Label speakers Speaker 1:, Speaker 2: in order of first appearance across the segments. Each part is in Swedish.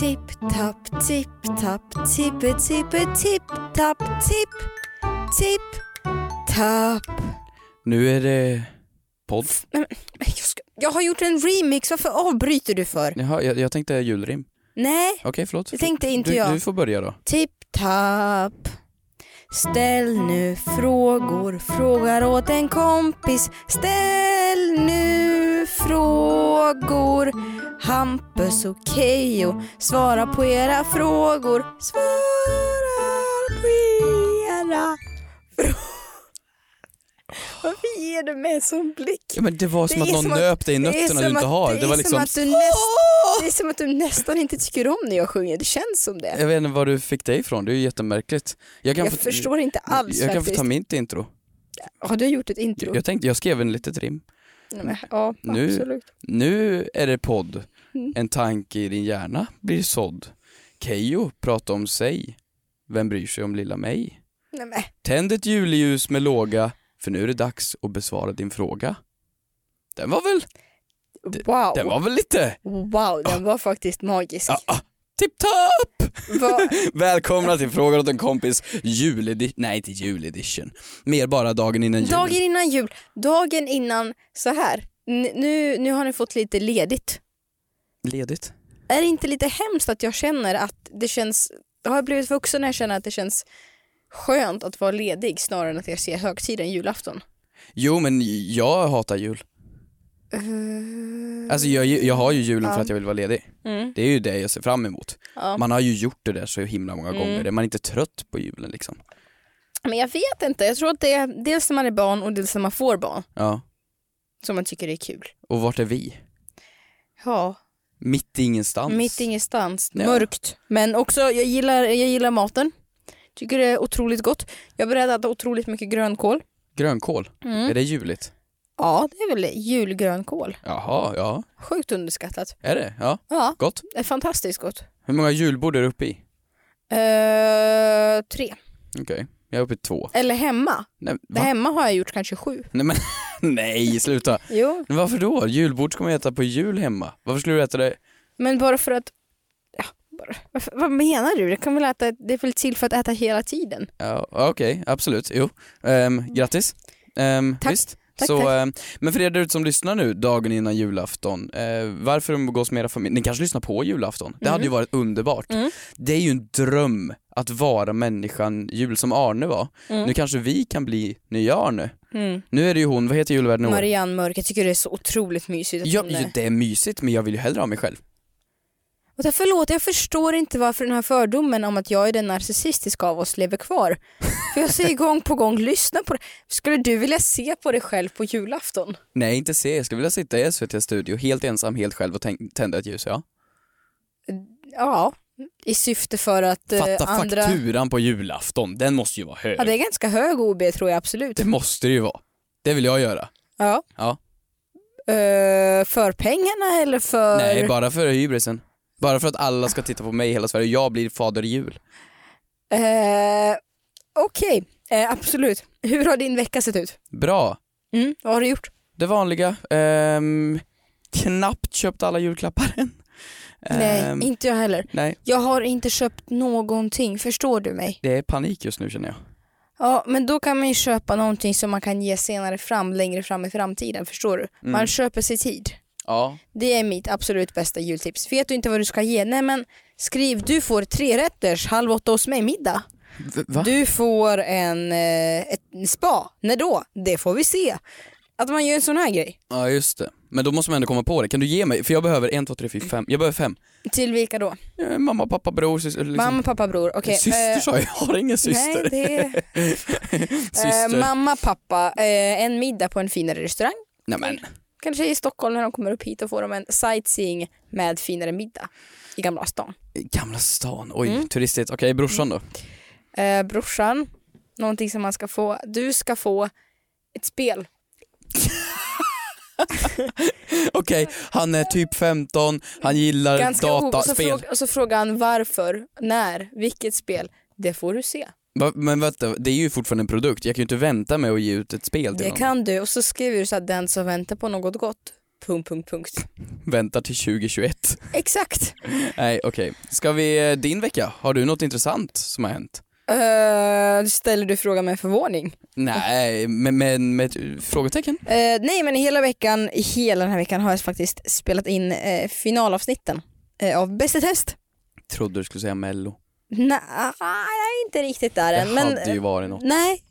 Speaker 1: Tipp tapp, tipp tapp, tippe tippe tipp tapp, tipp, tipp tapp.
Speaker 2: Nu är det podd.
Speaker 1: Men Jag, ska, jag har gjort en remix, varför avbryter du för?
Speaker 2: Jaha, jag, jag tänkte julrim.
Speaker 1: Nej,
Speaker 2: Okej, förlåt.
Speaker 1: det tänkte inte
Speaker 2: du,
Speaker 1: jag.
Speaker 2: Du får börja då.
Speaker 1: Tipp tapp. Ställ nu frågor, frågar åt en kompis. Ställ nu frågor. Hampus och Keyyo svara på era frågor. Svarar på era frågor. Varför ger du mig en sån blick?
Speaker 2: Ja, men det var som
Speaker 1: Det
Speaker 2: att
Speaker 1: är
Speaker 2: någon
Speaker 1: som att-
Speaker 2: nöp dig i
Speaker 1: det är
Speaker 2: nötterna
Speaker 1: som
Speaker 2: du inte
Speaker 1: att-
Speaker 2: har.
Speaker 1: det
Speaker 2: Det
Speaker 1: är
Speaker 2: var
Speaker 1: som
Speaker 2: liksom...
Speaker 1: att du näst- Det är som att du nästan inte tycker om när jag sjunger, det känns som det.
Speaker 2: Jag vet inte var du fick det ifrån, det är ju jättemärkligt.
Speaker 1: Jag,
Speaker 2: få-
Speaker 1: förstår inte alls
Speaker 2: Jag kan få
Speaker 1: faktiskt.
Speaker 2: ta mitt intro.
Speaker 1: Har du gjort ett intro?
Speaker 2: Jag, jag, tänkte, jag skrev en litet rim.
Speaker 1: Nej, men, ja,
Speaker 2: Nu-
Speaker 1: absolut.
Speaker 2: Nu är det podd.
Speaker 1: Mm.
Speaker 2: En tanke i din hjärna blir sådd. Keyyo pratar om sig. Vem bryr sig om lilla mig?
Speaker 1: Nej, men.
Speaker 2: Tänd ett juleljus med låga, för nu är det dags att besvara din fråga. Den var väl,
Speaker 1: Wow.
Speaker 2: den var Ah. väl lite...
Speaker 1: wow, den var faktiskt magisk.
Speaker 2: Ah, ah, Tipptopp!
Speaker 1: Va,
Speaker 2: Välkomna till Frågar åt en kompis juledition, nej inte juledition, mer bara dagen innan jul.
Speaker 1: dagen innan jul, dagen innan så här. N- nu, nu har ni fått lite ledigt.
Speaker 2: Ledigt.
Speaker 1: Är det inte lite hemskt att jag känner att det känns, har jag blivit vuxen när jag känner att det känns skönt att vara ledig snarare än att jag ser högtiden julafton?
Speaker 2: Jo men jag hatar jul. Alltså jag, jag har ju julen för att jag vill vara ledig.
Speaker 1: Eh. Mm.
Speaker 2: Det är ju det jag ser fram emot.
Speaker 1: Ja. Mm.
Speaker 2: Man har ju gjort det där så himla många gånger, man är inte trött på julen liksom.
Speaker 1: Men jag vet inte, jag tror att det är dels när man är barn och dels när man får barn
Speaker 2: Ja.
Speaker 1: som man tycker det är kul.
Speaker 2: Och vart är vi?
Speaker 1: Ja,
Speaker 2: Mitt i ingenstans.
Speaker 1: Mitt ingenstans,
Speaker 2: Ja.
Speaker 1: mörkt. Men också, jag gillar, jag gillar maten. Tycker det är otroligt gott. Jag beredade otroligt mycket grönkål.
Speaker 2: Grönkål,
Speaker 1: Mm.
Speaker 2: är det juligt?
Speaker 1: Ja, det är väl julgrönkål.
Speaker 2: Jaha, ja.
Speaker 1: Sjukt underskattat.
Speaker 2: Är det? Ja,
Speaker 1: Ja,
Speaker 2: gott.
Speaker 1: det är fantastiskt gott.
Speaker 2: Hur många julbord är du uppe i?
Speaker 1: Eh, tre.
Speaker 2: Okej, jag är uppe i två.
Speaker 1: Eller hemma.
Speaker 2: Nej,
Speaker 1: Det
Speaker 2: va?
Speaker 1: hemma har jag gjort kanske sju.
Speaker 2: Nej, men, nej sluta.
Speaker 1: Jo.
Speaker 2: Men varför då? Julbord ska man äta på jul hemma. Varför skulle du äta det?
Speaker 1: Men bara för att... Ja, bara, varför, vad menar du? Det, kan väl äta, det är väl till för att äta hela tiden?
Speaker 2: Ja, Okej, absolut. Jo. Um, grattis. Ehm,
Speaker 1: Mm. Tack.
Speaker 2: Visst.
Speaker 1: Tack,
Speaker 2: Så,
Speaker 1: tack.
Speaker 2: ehm, men för er där ute som lyssnar nu dagen innan julafton, eh, varför umgås med era familjer? Ni kanske lyssnar på julafton? Det
Speaker 1: Mm.
Speaker 2: hade ju varit underbart. Det är ju en dröm att vara människan jul som Arne var.
Speaker 1: Mm.
Speaker 2: Nu kanske vi kan bli nya Arne. Nu är det ju hon, vad heter julvärden i år?
Speaker 1: Marianne Mörk, jag tycker det är så otroligt mysigt. att
Speaker 2: Ja,
Speaker 1: hon är-
Speaker 2: ju, det är mysigt men jag vill ju hellre ha mig själv.
Speaker 1: Och där, förlåt, jag förstår inte varför den här fördomen om att jag är den narcissistiska av oss lever kvar. För jag säger gång på gång, lyssna på det. Skulle du vilja se på dig själv på julafton?
Speaker 2: Nej inte se, jag skulle vilja sitta i SVT studio helt ensam, helt själv och tänk- tända ett ljus ja.
Speaker 1: Ja, i syfte för att eh,
Speaker 2: Fatta
Speaker 1: andra...
Speaker 2: fakturan på julafton, den måste ju vara hög.
Speaker 1: Ja, det är ganska hög OB tror jag absolut.
Speaker 2: Det måste det ju vara. Det vill jag göra.
Speaker 1: Ja.
Speaker 2: Ja.
Speaker 1: Eh, för pengarna eller för...
Speaker 2: Nej, bara för hybrisen. Bara för att alla ska titta på mig i hela Sverige. Jag blir fader jul.
Speaker 1: Eh, Okej, Eh, absolut. Hur har din vecka sett ut?
Speaker 2: Bra.
Speaker 1: Mm, vad har du gjort?
Speaker 2: Det vanliga. Ehm, knappt köpt alla julklappar än. Ehm,
Speaker 1: Nej, inte jag heller.
Speaker 2: nej,
Speaker 1: Jag har inte köpt någonting, förstår du mig?
Speaker 2: det är panik just nu känner jag.
Speaker 1: Ja, men då kan man ju köpa någonting som man kan ge senare fram, längre fram i framtiden, förstår du?
Speaker 2: Mm.
Speaker 1: Man köper sig tid.
Speaker 2: Ja.
Speaker 1: Det är mitt absolut bästa jultips. Vet du inte vad du ska ge? Nej men skriv du får tre rätters halv åtta hos mig middag.
Speaker 2: Va?
Speaker 1: Du får en eh, ett spa. När då? Det får vi se. Att man gör en sån här grej.
Speaker 2: Ja, just det. Men då måste man ändå komma på det. Kan du ge mig? För jag behöver en, två, tre, fyra, fem. Jag behöver fem.
Speaker 1: Till vilka då?
Speaker 2: Eh, Mamma, pappa, bror, syster. Liksom.
Speaker 1: Mamma, pappa, bror. Okej.
Speaker 2: syster
Speaker 1: eh,
Speaker 2: sa jag. Jag har ingen syster.
Speaker 1: Nej, det är,
Speaker 2: syster.
Speaker 1: Eh, mamma, pappa, eh, en middag på en finare restaurang.
Speaker 2: Nej men,
Speaker 1: Kanske i Stockholm när de kommer upp hit och får de en sightseeing med finare middag i Gamla stan.
Speaker 2: Gamla stan, oj
Speaker 1: Mm.
Speaker 2: turistigt. Okej, brorsan då?
Speaker 1: Eh, brorsan, någonting som man ska få. Du ska få ett spel.
Speaker 2: Okej, han är typ 15, han gillar
Speaker 1: Ganska ihop. Och så,
Speaker 2: dataspel.
Speaker 1: fråga, och så frågar han varför, när, vilket spel. Det får du se.
Speaker 2: Va- Men vänta, det är ju fortfarande en produkt. Jag kan ju inte vänta med att ge ut ett spel till
Speaker 1: Det
Speaker 2: någon.
Speaker 1: kan du. Och så skriver du så att den som väntar på något gott. Punkt, punkt, punkt.
Speaker 2: Vänta till 2021.
Speaker 1: Exakt.
Speaker 2: Nej, okej. Ska vi, eh, din vecka, har du något intressant som har hänt?
Speaker 1: Eh, ställer du frågan med förvåning?
Speaker 2: Nej, men men med ett frågetecken?
Speaker 1: Eh, nej men hela veckan, hela den här veckan har jag faktiskt spelat in eh, finalavsnitten eh, av Bäst i test.
Speaker 2: Trodde du skulle säga mello.
Speaker 1: Nej, ah, jag är inte riktigt där
Speaker 2: Det
Speaker 1: än. Eh, Men,
Speaker 2: hade ju varit något.
Speaker 1: nej,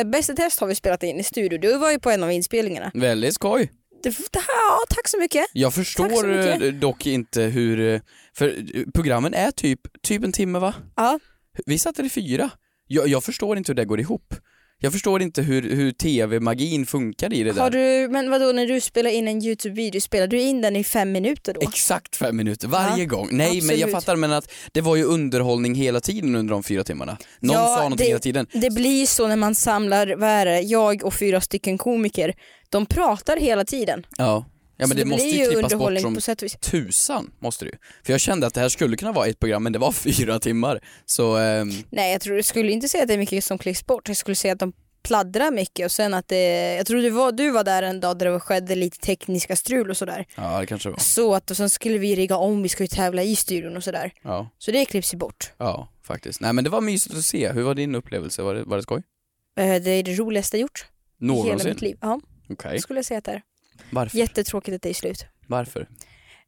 Speaker 1: eh, Bäst i test har vi spelat in i studio. Du var ju på en av inspelningarna.
Speaker 2: Väldigt skoj.
Speaker 1: Det, det, ja, tack så mycket.
Speaker 2: Jag
Speaker 1: Tack så
Speaker 2: förstår
Speaker 1: mycket.
Speaker 2: eh, dock inte hur, eh, för eh, programmen är typ, typ en timme va?
Speaker 1: Ja.
Speaker 2: Vi satt där i fyra. Jag, jag förstår inte hur det går ihop. Jag förstår inte hur, hur tv-magin funkar i det där.
Speaker 1: Har du, men vadå när du spelar in en Youtube-video, spelar du in den i fem minuter då?
Speaker 2: Exakt fem minuter varje
Speaker 1: Ja,
Speaker 2: gång. Nej men jag
Speaker 1: absolut.
Speaker 2: fattar men att det var ju underhållning hela tiden under de fyra timmarna. Någon
Speaker 1: Ja,
Speaker 2: sa någonting
Speaker 1: det-
Speaker 2: hela tiden.
Speaker 1: Det blir så när man samlar, vad är det, jag och fyra stycken komiker. De pratar hela tiden.
Speaker 2: Ja. Ja
Speaker 1: Så
Speaker 2: men det, måste
Speaker 1: blir
Speaker 2: ju klippas bort
Speaker 1: underhållning
Speaker 2: som
Speaker 1: på sätt och vis.
Speaker 2: tusan måste det ju. För jag kände att det här skulle kunna vara ett program men det var fyra timmar. Så ehm,
Speaker 1: Nej jag tror, jag skulle inte säga att det är mycket som klipps bort. Jag skulle säga att de pladdrar mycket och sen att det, jag tror du var, du var där en dag där det skedde lite tekniska strul och sådär.
Speaker 2: ja det kanske det var.
Speaker 1: Så att och sen skulle vi rigga om, vi ska ju tävla i studion och sådär.
Speaker 2: Ja,
Speaker 1: Så det klipps ju bort.
Speaker 2: ja faktiskt. Nej men det var mysigt att se. Hur var din upplevelse? Var det, var det skoj?
Speaker 1: Eh, Det är det roligaste jag gjort i hela
Speaker 2: Någonsin?
Speaker 1: mitt liv. Ja,
Speaker 2: Okej.
Speaker 1: skulle jag säga att det är.
Speaker 2: Varför?
Speaker 1: Jättetråkigt att det är slut.
Speaker 2: Varför?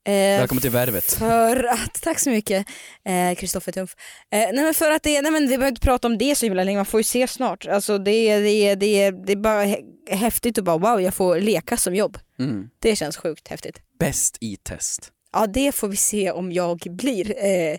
Speaker 1: Eh,
Speaker 2: Välkommen till Värvet.
Speaker 1: För att, tack så mycket eh, Kristoffer Tumf. Eh, nej men för att det, nej men vi behöver inte prata om det så himla länge, man får ju se snart. Alltså det, är- det, är- det, är- det är bara hä- häftigt och bara wow jag får leka som jobb.
Speaker 2: Mm.
Speaker 1: Det känns sjukt häftigt.
Speaker 2: Bäst i test.
Speaker 1: Ja det får vi se om jag blir. Eh,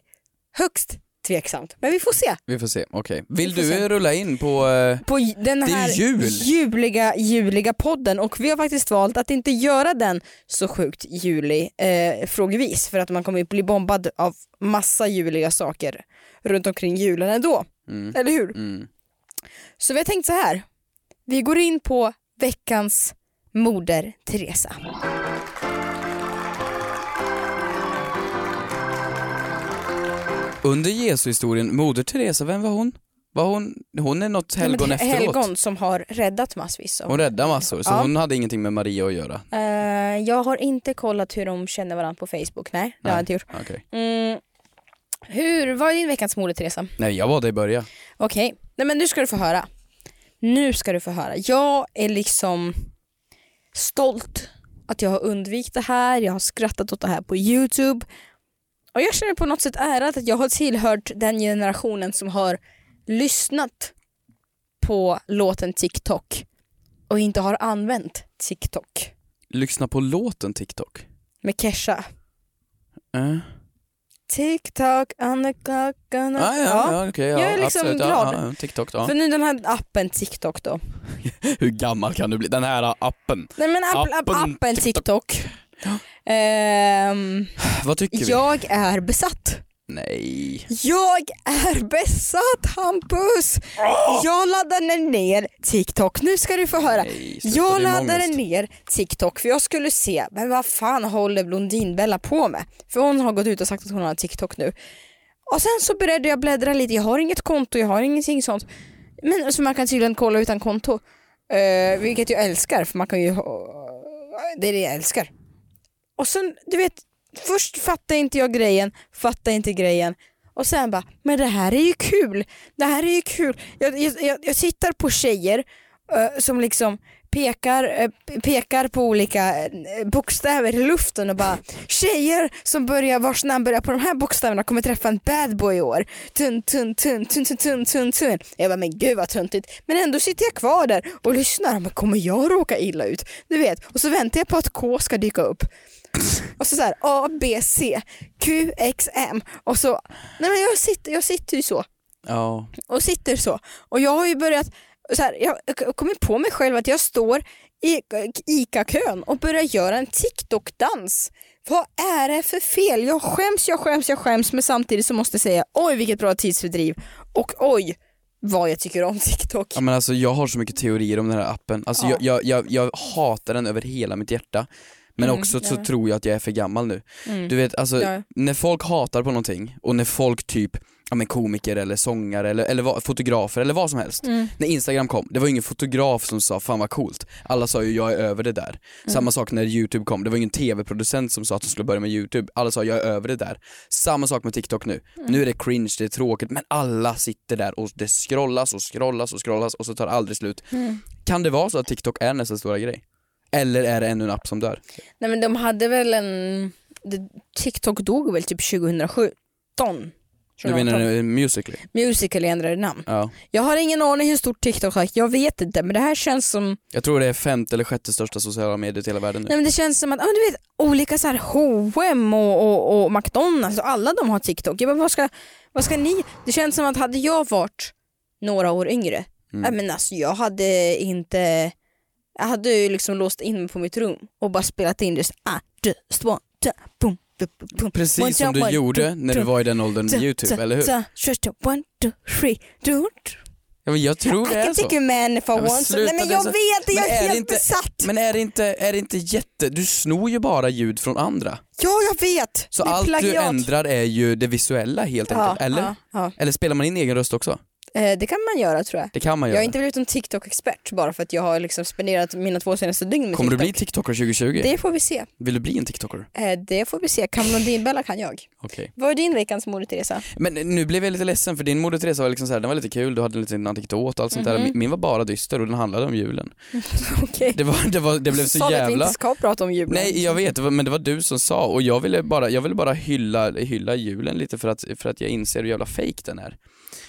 Speaker 1: högst tveksamt, men vi får se.
Speaker 2: Vi får se, okej. Vill
Speaker 1: Vi får
Speaker 2: du
Speaker 1: se.
Speaker 2: eh, rulla in på eh,
Speaker 1: På j- den
Speaker 2: Det är
Speaker 1: här
Speaker 2: jul.
Speaker 1: juliga, juliga podden och vi har faktiskt valt att inte göra den så sjukt julig eh, frågvis för att man kommer ju bli bombad av massa juliga saker runt omkring julen ändå.
Speaker 2: mm,
Speaker 1: Eller hur?
Speaker 2: mm.
Speaker 1: Så vi har tänkt så här. Vi går in på veckans moder Teresa.
Speaker 2: Under Jesu-historien, Moder Teresa, vem var hon? Var hon, hon är något helgon
Speaker 1: Men det-
Speaker 2: efteråt.
Speaker 1: helgon som har räddat massvis. av-
Speaker 2: Hon räddade massor, så
Speaker 1: Ja.
Speaker 2: hon hade ingenting med Maria att göra.
Speaker 1: Eh, jag har inte kollat hur de känner varandra på Facebook. Nej, det har jag inte gjort.
Speaker 2: Okej.
Speaker 1: Mm. Hur, vad är din veckans moder Teresa?
Speaker 2: Nej, jag var där i början.
Speaker 1: Okej, nej men nu ska du få höra. Nu ska du få höra. Jag är liksom stolt att jag har undvikit det här, jag har skrattat åt det här på Youtube. Och jag känner på något sätt ärad att jag har tillhört den generationen som har lyssnat på låten TikTok och inte har använt TikTok
Speaker 2: Lyssna på låten TikTok.
Speaker 1: med Kesha. Mm.
Speaker 2: Eh.
Speaker 1: TikTok, on the clock, on the...
Speaker 2: Ah, ja, ja, ja, okej, ja,
Speaker 1: Jag är liksom
Speaker 2: absolut,
Speaker 1: glad.
Speaker 2: Ja, ja, TikTok, ja.
Speaker 1: För nu den här appen TikTok då.
Speaker 2: Hur gammal kan du bli? Den här appen.
Speaker 1: Nej men app, app,
Speaker 2: Appen
Speaker 1: appen TikTok. Ehm,
Speaker 2: Vad tycker
Speaker 1: jag är besatt.
Speaker 2: vi? Nej.
Speaker 1: Jag är besatt Hampus! Jag laddade ner TikTok. Nu ska du få höra.
Speaker 2: Nej, sluta,
Speaker 1: Jag
Speaker 2: det är
Speaker 1: laddade
Speaker 2: mångest.
Speaker 1: ner TikTok för jag skulle se, men vad fan håller Blondinbella på med? För hon har gått ut och sagt att hon har TikTok nu. Och sen så började jag bläddra lite, jag har inget konto, jag har ingenting sånt. Men som man kan tydligen kolla utan konto. Eh, vilket jag älskar för man kan ju ha... Det är det jag älskar. Och sen, du vet, först fattar inte jag grejen, fattar inte grejen. Och sen bara, men det här är ju kul. Det här är ju kul. Jag, jag, jag, jag tittar på tjejer eh, som liksom pekar, eh, pe- pekar på olika eh, bokstäver i luften och bara tjejer som börjar, vars namn börjar på de här bokstäverna kommer träffa en bad boy i år. Tun, tun, tun, tun, tun, tun, tun, tun. Jag bara, men gud vad töntigt. Men ändå sitter jag kvar där och lyssnar. Men kommer jag råka illa ut? Du vet, och så väntar jag på att K ska dyka upp. Och så, så här A, B, C, Q, X, M. Och så, nej men jag sitter, jag sitter ju så
Speaker 2: Ja.
Speaker 1: och sitter så. Och jag har ju börjat, så här, jag har kommit på mig själv att jag står i ICA-kön och börjar göra en TikTok-dans. Vad är det för fel? Jag skäms, jag skäms, jag skäms men samtidigt så måste jag säga oj vilket bra tidsfördriv och oj vad jag tycker om TikTok.
Speaker 2: Ja, men alltså, jag har så mycket teorier om den här appen, alltså,
Speaker 1: Ja.
Speaker 2: jag, jag, jag, jag hatar den över hela mitt hjärta men
Speaker 1: Mm,
Speaker 2: också så
Speaker 1: ja.
Speaker 2: tror jag att jag är för gammal nu.
Speaker 1: Mm.
Speaker 2: Du vet alltså,
Speaker 1: Ja.
Speaker 2: när folk hatar på någonting och när folk typ, ja men komiker eller sångare eller, eller vad- fotografer eller vad som helst.
Speaker 1: Mm.
Speaker 2: När instagram kom, det var ju ingen fotograf som sa fan vad coolt, alla sa ju jag är över det där.
Speaker 1: Mm.
Speaker 2: Samma sak när youtube kom, det var ingen tv-producent som sa att de skulle börja med youtube, alla sa jag är över det där. Samma sak med tiktok nu,
Speaker 1: Mm.
Speaker 2: nu är det cringe, det är tråkigt men alla sitter där och det scrollas och scrollas och scrollas och så tar det aldrig slut.
Speaker 1: Mm.
Speaker 2: Kan det vara så att tiktok är nästa stora grej? Eller är det ännu en app som dör?
Speaker 1: Nej men de hade väl en... det- TikTok dog väl typ 2017?
Speaker 2: Du menar eh, Musical.ly?
Speaker 1: Musical ändrade namn.
Speaker 2: Ja.
Speaker 1: Jag har ingen aning hur stort TikTok är, jag vet inte men det här känns som
Speaker 2: Jag tror det är femte eller sjätte största sociala mediet i hela världen nu.
Speaker 1: Nej men det känns som att, ja men du vet olika så här H&M och, och, och McDonalds och alla de har TikTok. Jag bara, vad ska, vad ska ni? Det känns som att hade jag varit några år yngre,
Speaker 2: Mm.
Speaker 1: ja, men alltså jag hade inte, jag hade ju liksom låst in mig på mitt rum och bara spelat in Ah, just I just want to boom, boom, boom. One,
Speaker 2: Precis som
Speaker 1: two,
Speaker 2: du
Speaker 1: one,
Speaker 2: gjorde
Speaker 1: two,
Speaker 2: när du
Speaker 1: two,
Speaker 2: var i den åldern
Speaker 1: two,
Speaker 2: med YouTube,
Speaker 1: two,
Speaker 2: eller hur?
Speaker 1: two, just one, two, three, do, do.
Speaker 2: Ja, men jag tror
Speaker 1: I
Speaker 2: det är
Speaker 1: can take a
Speaker 2: så.
Speaker 1: man if I
Speaker 2: men
Speaker 1: want to. Nej
Speaker 2: sluta,
Speaker 1: men
Speaker 2: det är
Speaker 1: jag
Speaker 2: så-
Speaker 1: vet det, jag
Speaker 2: Men
Speaker 1: är
Speaker 2: är det
Speaker 1: helt
Speaker 2: inte-
Speaker 1: besatt.
Speaker 2: Men är det, inte, är det inte jätte... Du snor ju bara ljud från andra.
Speaker 1: Ja jag vet.
Speaker 2: Så
Speaker 1: det är
Speaker 2: allt du
Speaker 1: plagiat.
Speaker 2: ändrar är ju det visuella helt enkelt, eller?
Speaker 1: Ja, ja.
Speaker 2: Eller spelar man in egen röst också?
Speaker 1: Eh, det kan man göra tror jag.
Speaker 2: Det kan man
Speaker 1: Jag
Speaker 2: göra.
Speaker 1: har inte blivit en TikTok-expert bara för att jag har liksom spenderat mina två senaste dygn med
Speaker 2: Kommer du
Speaker 1: TikTok.
Speaker 2: bli TikToker 2020?
Speaker 1: Det får vi se.
Speaker 2: Vill du bli en TikToker?
Speaker 1: Eh, det får vi se. Kan Blondinbella kan jag.
Speaker 2: Okej.
Speaker 1: Vad är din veckans mode Teresa?
Speaker 2: Men nu blev jag lite ledsen för din Moder Teresa var liksom så här, den var lite kul, du hade en liten anekdot och allt sånt
Speaker 1: Mhm.
Speaker 2: där. Min- Min var bara dyster och den handlade om julen.
Speaker 1: Okej.
Speaker 2: Det, var, det, var, det blev
Speaker 1: Sa
Speaker 2: så
Speaker 1: vi att vi
Speaker 2: jävla...
Speaker 1: inte ska prata om julen?
Speaker 2: Nej jag vet, det var- men det var du som sa och jag ville bara, jag ville bara hylla, hylla julen lite för att, för att jag inser hur jävla fake den är.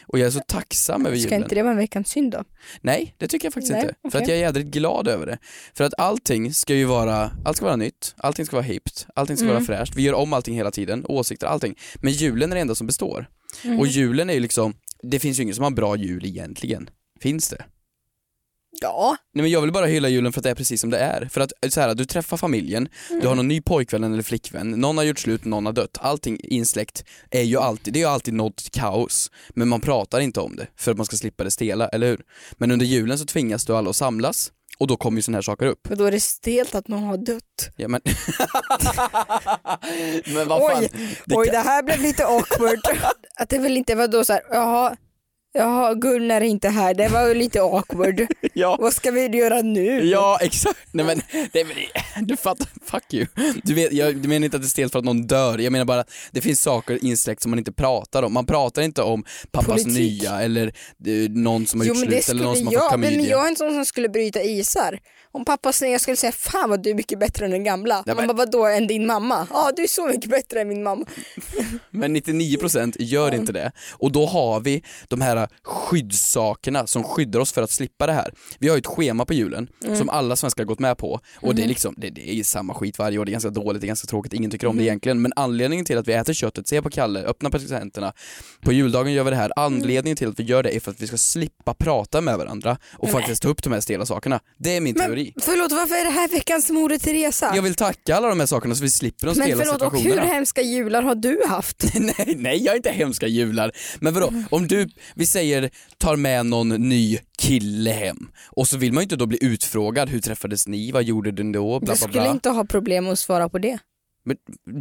Speaker 2: Och jag är så tacksam över
Speaker 1: Ska
Speaker 2: julen.
Speaker 1: inte det vara en veckans synd då?
Speaker 2: Nej, det tycker jag faktiskt
Speaker 1: Nej,
Speaker 2: inte. För att
Speaker 1: okej.
Speaker 2: jag är jädrigt glad över det. För att allting ska ju vara, allt ska vara nytt, allting ska vara hippt, allting ska
Speaker 1: Mm.
Speaker 2: vara fräscht. Vi gör om allting hela tiden, åsikter, allting. Men julen är det enda som består.
Speaker 1: Mm.
Speaker 2: Och julen är ju liksom, det finns ju ingen som har bra jul egentligen. Finns det?
Speaker 1: Ja.
Speaker 2: Nej men jag vill bara hylla julen för att det är precis som det är. För att eh, så här, du träffar familjen, du har någon ny pojkvän eller flickvän, någon har gjort slut, någon har dött. Allting insläkt är ju alltid, det är ju alltid något kaos. Men man pratar inte om det för att man ska slippa det stela, eller hur? Men under julen så tvingas du alla att samlas och då kommer ju sådana här saker upp.
Speaker 1: Men då är det stelt att någon har dött.
Speaker 2: Ja, men... men vad fan.
Speaker 1: Oj,
Speaker 2: Det
Speaker 1: oj
Speaker 2: kan-
Speaker 1: det här blev lite awkward. att det väl inte var då så här, jaha, jaha Gunnar är inte här, det var ju lite awkward.
Speaker 2: Ja.
Speaker 1: Vad ska vi göra nu?
Speaker 2: Ja exakt, nej men, nej, men det- du fattar, fuck you. Du vet, jag du menar inte att det är stelt för att någon dör, jag menar bara att det finns saker insläkt som man inte pratar om. Man pratar inte om pappas
Speaker 1: Politik.
Speaker 2: nya eller eh, någon som har
Speaker 1: Jo
Speaker 2: gjort
Speaker 1: men det
Speaker 2: slut eller
Speaker 1: skulle
Speaker 2: någon som har fått
Speaker 1: jag, men
Speaker 2: klamydia.
Speaker 1: jag är en sån som skulle bryta isar. Om pappa snälla, jag skulle säga fan vad du är mycket bättre än den gamla.
Speaker 2: Nej,
Speaker 1: Man
Speaker 2: men-
Speaker 1: bara vadå än din mamma? Ja du är så mycket bättre än min mamma.
Speaker 2: Men 99% gör inte det. Och då har vi de här skyddssakerna som skyddar oss för att slippa det här. Vi har ju ett schema på julen
Speaker 1: Mm.
Speaker 2: som alla svenskar har gått med på och det är liksom, det, det är ju samma skit varje år, det är ganska dåligt, det är ganska tråkigt, ingen tycker om
Speaker 1: Mm.
Speaker 2: det egentligen. Men anledningen till att vi äter köttet, ser på Kalle, öppnar presenterna, på juldagen gör vi det här.
Speaker 1: Mm.
Speaker 2: Anledningen till att vi gör det är för att vi ska slippa prata med varandra och faktiskt ta upp de här stela sakerna. Det är min teori.
Speaker 1: Förlåt varför är det här veckans mode Teresa?
Speaker 2: Jag vill tacka alla de här sakerna så vi slipper de
Speaker 1: men
Speaker 2: stela
Speaker 1: förlåt och
Speaker 2: situationerna.
Speaker 1: hur hemska jular har du haft?
Speaker 2: nej, nej, jag är inte hemska jular. Men vadå, om du, vi säger, tar med någon ny kille hem och så vill man ju inte då bli utfrågad, hur träffades ni, vad gjorde du då, bla
Speaker 1: Du
Speaker 2: bla
Speaker 1: skulle
Speaker 2: bla.
Speaker 1: inte ha problem att svara på det.
Speaker 2: Men,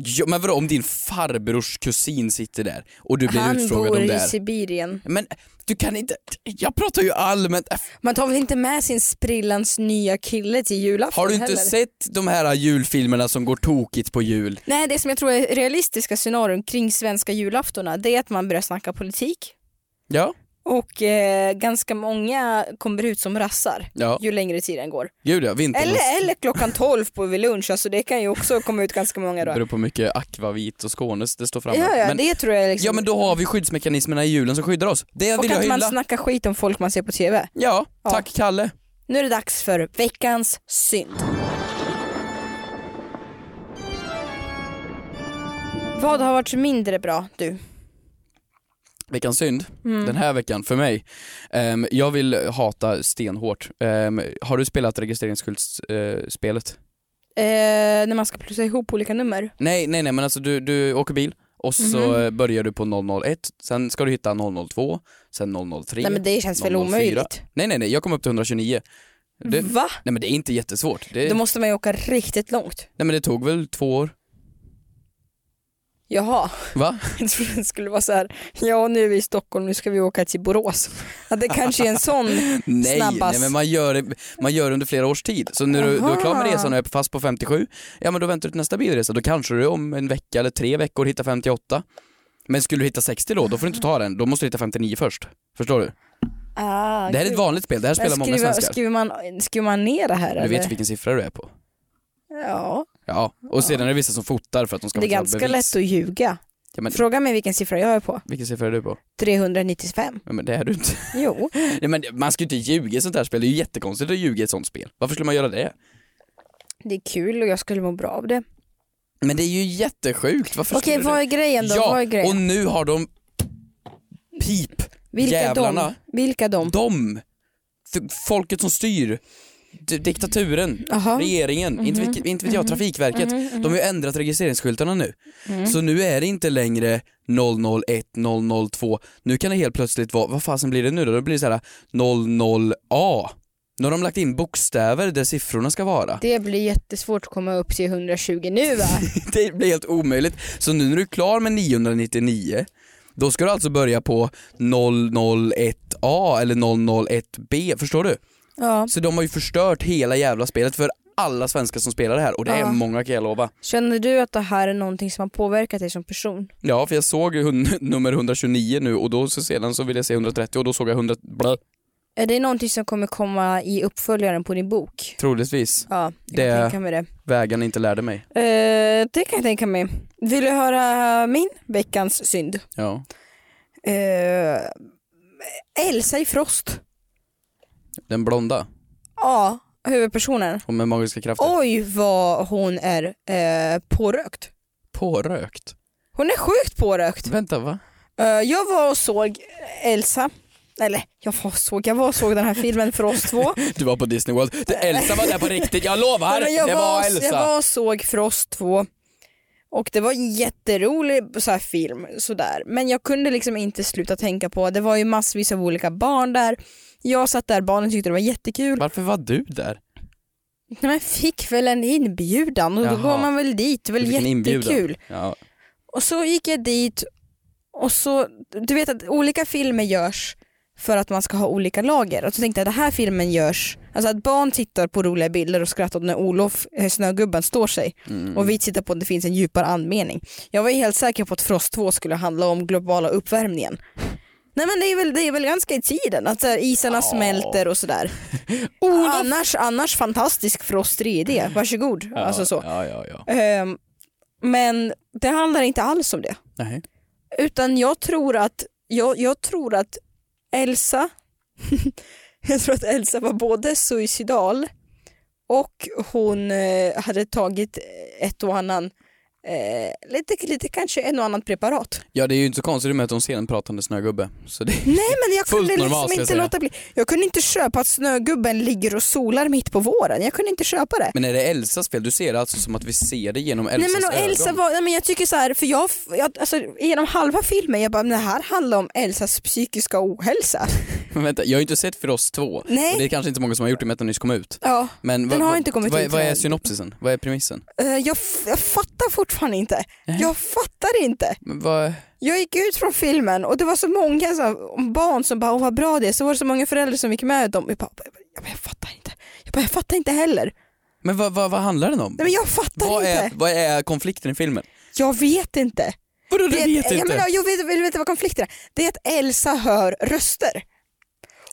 Speaker 2: ja, men vadå, om din farbrors kusin sitter där och du blir
Speaker 1: Han
Speaker 2: utfrågad
Speaker 1: bor
Speaker 2: om det
Speaker 1: i
Speaker 2: här.
Speaker 1: Sibirien.
Speaker 2: Men du kan inte, jag pratar ju allmänt, Äh,
Speaker 1: Man tar väl inte med sin sprillans nya kille till julafton
Speaker 2: har du inte
Speaker 1: heller?
Speaker 2: sett de här julfilmerna som går tokigt på jul?
Speaker 1: Nej det som jag tror är realistiska scenarion kring svenska julaftorna det är att man börjar snacka politik.
Speaker 2: Ja,
Speaker 1: Och eh, ganska många kommer ut som rassar
Speaker 2: Ja.
Speaker 1: ju längre tiden går.
Speaker 2: gud ja, vintern.
Speaker 1: Eller, eller klockan 12 på vid lunch, alltså det kan ju också komma ut ganska många då.
Speaker 2: beror på hur mycket akvavit och skånes det står framme.
Speaker 1: Ja, ja
Speaker 2: Men-
Speaker 1: det tror jag liksom.
Speaker 2: Ja men då har vi skyddsmekanismerna i julen som skyddar oss. Det
Speaker 1: och
Speaker 2: vill jag
Speaker 1: att man
Speaker 2: hylla.
Speaker 1: snackar skit om folk man ser på TV.
Speaker 2: Ja,
Speaker 1: Ja.
Speaker 2: tack Kalle.
Speaker 1: Nu är det dags för veckans synd. Vad har varit mindre bra du?
Speaker 2: Veckans synd,
Speaker 1: Mm.
Speaker 2: den här veckan för mig. Ehm, jag vill hata stenhårt. Ehm, har du spelat registreringsskyltsspelet?
Speaker 1: Eh, när man ska plussa ihop olika nummer.
Speaker 2: nej, nej, nej men alltså du, du åker bil och så
Speaker 1: Mhm.
Speaker 2: eh, börjar du på 001, sen ska du hitta 002, sen 003.
Speaker 1: Nej men det känns väl
Speaker 2: 004.
Speaker 1: omöjligt.
Speaker 2: nej, nej, nej, jag kom upp till 129. Det,
Speaker 1: Va?
Speaker 2: nej men det är inte jättesvårt. Det,
Speaker 1: Då måste man ju åka riktigt långt.
Speaker 2: Nej men det tog väl två år?
Speaker 1: Jaha,
Speaker 2: Va?
Speaker 1: jag trodde det skulle vara så här. ja nu är vi i Stockholm, nu ska vi åka till Borås. Ja, det kanske är en sån
Speaker 2: Nej,
Speaker 1: snabbast.
Speaker 2: nej men man gör, det, man gör det under flera års tid. Så när du, du är klar med
Speaker 1: Aha.
Speaker 2: resan och är fast på 57, ja men då väntar du till nästa bilresa. Då kanske du om en vecka eller tre veckor hittar 58. Men skulle du hitta 60 då, då får du inte ta den. Då måste du hitta 59 först. Förstår du?
Speaker 1: Ah,
Speaker 2: Det här är ett
Speaker 1: gud.
Speaker 2: vanligt spel, det här
Speaker 1: Men
Speaker 2: spelar många
Speaker 1: skriver,
Speaker 2: svenskar.
Speaker 1: skriver, man, skriver man ner det här
Speaker 2: Du
Speaker 1: eller?
Speaker 2: vet vilken siffra du är på.
Speaker 1: Ja,
Speaker 2: Ja, och sedan är det vissa som fotar för att de ska
Speaker 1: det är
Speaker 2: få
Speaker 1: ganska
Speaker 2: bevis.
Speaker 1: lätt att ljuga.
Speaker 2: Ja, men,
Speaker 1: Fråga mig vilken siffra jag är på.
Speaker 2: vilken siffra är du på?
Speaker 1: 395.
Speaker 2: Ja, men det är du inte.
Speaker 1: Jo.
Speaker 2: Nej, men man ska ju inte ljuga i sånt här spel, det är ju jättekonstigt att ljuga i ett sånt spel. Varför skulle man göra det?
Speaker 1: Det är kul och jag skulle må bra av det.
Speaker 2: Men det är ju jättesjukt, varför
Speaker 1: Okej,
Speaker 2: skulle
Speaker 1: vad är grejen då? vad är
Speaker 2: Ja,
Speaker 1: grejen?
Speaker 2: och nu har de pip,
Speaker 1: Vilka de?
Speaker 2: jävlarna.
Speaker 1: Vilka de?
Speaker 2: de, F- folket som styr, D- diktaturen,
Speaker 1: Jaha.
Speaker 2: regeringen, inte,
Speaker 1: Mhm.
Speaker 2: vet, inte vet jag, Trafikverket. De har ju ändrat registreringsskyltarna nu.
Speaker 1: Mm.
Speaker 2: Så nu är det inte längre 001, 002, nu kan det helt plötsligt vara, vad fasen blir det nu då? Då blir det så här 00A. Nu har de lagt in bokstäver där siffrorna ska vara.
Speaker 1: Det blir jättesvårt att komma upp till 120 nu va?
Speaker 2: Det blir helt omöjligt. Så nu när du är klar med 999, då ska du alltså börja på 001A eller 001B, förstår du?
Speaker 1: ja.
Speaker 2: Så de har ju förstört hela jävla spelet för alla svenskar som spelar det här och det är
Speaker 1: Ja.
Speaker 2: många kan jag lova.
Speaker 1: Känner du att det här är någonting som har påverkat dig som person?
Speaker 2: Ja, för jag såg ju hun- nummer 129 nu och då så sedan så ville jag se 130 och då såg jag 100, blä,
Speaker 1: Är det någonting som kommer komma i uppföljaren på din bok?
Speaker 2: troligtvis.
Speaker 1: Ja, jag
Speaker 2: Det-
Speaker 1: kan tänka mig det.
Speaker 2: Vägen inte lärde mig.
Speaker 1: Eh, det kan jag tänka mig. Vill du höra min veckans synd?
Speaker 2: Ja.
Speaker 1: Eh, Elsa i Frost.
Speaker 2: Den blonda,
Speaker 1: Ja, huvudpersonen.
Speaker 2: hon med magiska krafter.
Speaker 1: Oj vad hon är eh, pårökt.
Speaker 2: Pårökt.
Speaker 1: Hon är sjukt pårökt.
Speaker 2: Vänta, va?
Speaker 1: Eh, jag var och såg Elsa. Eller jag var och såg, jag var och såg den här filmen Frost 2.
Speaker 2: Du var på Disney World. Det- Elsa var där på riktigt, jag
Speaker 1: Nej,
Speaker 2: lovar!
Speaker 1: men jag,
Speaker 2: det var,
Speaker 1: var,
Speaker 2: Elsa.
Speaker 1: jag var och såg Frost 2 och det var en jätterolig så här, film sådär. Men jag kunde liksom inte sluta tänka på, det var ju massvis av olika barn där. Jag satt där, barnen tyckte det var jättekul.
Speaker 2: Varför var du där?
Speaker 1: Nej, men fick väl en inbjudan och då
Speaker 2: Jaha.
Speaker 1: går man väl dit, det är
Speaker 2: Du
Speaker 1: väl
Speaker 2: fick en inbjudan.
Speaker 1: jättekul.
Speaker 2: Ja.
Speaker 1: Och så gick jag dit och så, du vet att olika filmer görs för att man ska ha olika lager. Och så tänkte jag den här filmen görs, alltså att barn tittar på roliga bilder och skrattar åt när Olof, eh, snögubben, står sig.
Speaker 2: Mm.
Speaker 1: Och vi tittar på att det finns en djupare anmening. Jag var ju helt säker på att Frost 2 skulle handla om globala uppvärmningen. Nej men det är väl, det är väl ganska i tiden, att så här, isarna smälter och sådär. annars, annars fantastisk Frost 3D, varsågod. alltså så.
Speaker 2: Ja, ja, ja.
Speaker 1: Ehm, men det handlar inte alls om det.
Speaker 2: Nej.
Speaker 1: Utan jag tror att, jag, jag tror att Elsa, jag tror att Elsa var både suicidal och hon eh, hade tagit ett och annan, eh, lite, lite kanske en och annan preparat.
Speaker 2: Ja, det är ju inte så konstigt med att de ser en pratande snögubbe. Så det...
Speaker 1: Nej men jag
Speaker 2: Fullt
Speaker 1: kunde liksom
Speaker 2: normalt, ska jag
Speaker 1: inte
Speaker 2: säga.
Speaker 1: låta bli. Jag kunde inte köpa att snögubben ligger och solar mitt på våren. Jag kunde inte köpa det.
Speaker 2: Men är det Elsas fel? Du ser det alltså som att vi ser det genom
Speaker 1: Nej
Speaker 2: Elsas
Speaker 1: men och Elsa
Speaker 2: ögon.
Speaker 1: var, nej men jag tycker så här, för jag, jag alltså, genom halva filmen, jag bara, men det här handlar om Elsas psykiska ohälsa.
Speaker 2: Men vänta, jag har ju inte sett Frost 2.
Speaker 1: Nej.
Speaker 2: Och det är kanske inte många som har gjort det med att den nyss kom ut.
Speaker 1: Ja,
Speaker 2: Men
Speaker 1: Den
Speaker 2: vad-
Speaker 1: har
Speaker 2: vad-
Speaker 1: inte kommit
Speaker 2: vad,
Speaker 1: ut
Speaker 2: Vad är
Speaker 1: än.
Speaker 2: synopsisen? Vad är premissen?
Speaker 1: eh, jag, f- jag fattar fortfarande inte. Jag fattar inte.
Speaker 2: Men vad...
Speaker 1: Jag gick ut från filmen och det var så många så här, barn som bara, åh vad bra det är. Så var det så många föräldrar som gick med dem. Jag bara, jag, bara, jag fattar inte. Jag bara, jag fattar inte heller.
Speaker 2: Men vad, vad, vad handlar den om?
Speaker 1: Nej men jag fattar
Speaker 2: vad,
Speaker 1: inte.
Speaker 2: är, vad är konflikten i filmen?
Speaker 1: Jag vet inte.
Speaker 2: Vadå du
Speaker 1: Det är
Speaker 2: vet
Speaker 1: att,
Speaker 2: inte?
Speaker 1: Jag menar, jag vet, vill du veta vad konflikten är? Det är att Elsa hör röster.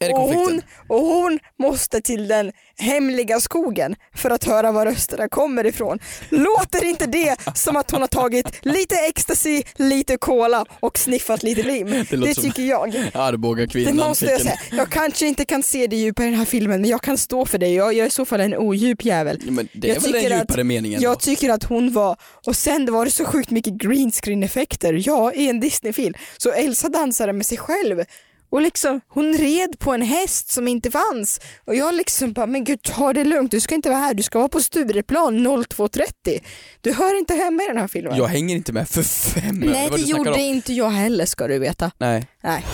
Speaker 2: Är det
Speaker 1: och,
Speaker 2: konflikten?
Speaker 1: hon, och hon måste till den hemliga skogen för att höra var rösterna kommer ifrån. Låter inte det som att hon har tagit lite ecstasy, lite cola och sniffat lite lim? Det,
Speaker 2: låter som-
Speaker 1: tycker jag.
Speaker 2: Arboga
Speaker 1: Det
Speaker 2: kvinnan
Speaker 1: måste
Speaker 2: fick
Speaker 1: jag
Speaker 2: en-
Speaker 1: säga. Jag kanske inte kan se det djupa i den här filmen men jag kan stå för det. Jag, jag är i så fall en odjup jävel.
Speaker 2: Ja, men det
Speaker 1: Jag
Speaker 2: är väl den
Speaker 1: tycker att-
Speaker 2: djupare meningen
Speaker 1: Jag
Speaker 2: då?
Speaker 1: tycker att hon var, och sen var det så sjukt mycket green screen effekter, ja i en Disney-film. Så Elsa dansade med sig själv och liksom hon red på en häst som inte fanns och jag liksom bara men gud ta det lugnt du ska inte vara här du ska vara på Stureplan 02.30. Du hör inte hemma i den här filmen.
Speaker 2: Jag hänger inte med för fem öre
Speaker 1: Nej
Speaker 2: vad
Speaker 1: det
Speaker 2: du snackar
Speaker 1: gjorde
Speaker 2: om.
Speaker 1: inte jag heller ska du veta.
Speaker 2: Nej.
Speaker 1: Nej.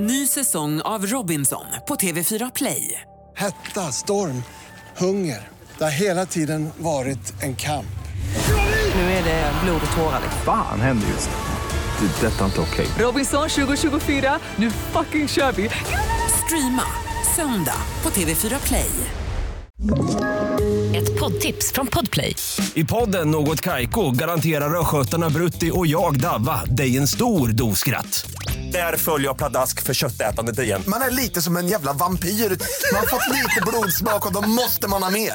Speaker 3: Ny säsong av Robinson på TV4 Play.
Speaker 4: Hetta, storm, hunger. Det har hela tiden varit en kamp.
Speaker 3: Nu är det blod och tårar.
Speaker 5: Fan händer just nu. Det. är Detta är inte okej.
Speaker 3: Robinson 2024, nu fucking kör vi! Streama söndag på TV4 Play.
Speaker 6: Ett poddtips från Podplay.
Speaker 7: I podden Något Kaiko garanterar östgötarna Brutti och jag, Davva, dig en stor dos skratt. Där följer jag pladask för köttätandet igen.
Speaker 8: Man är lite som en jävla vampyr. Man har fått lite blodsmak och då måste man ha mer.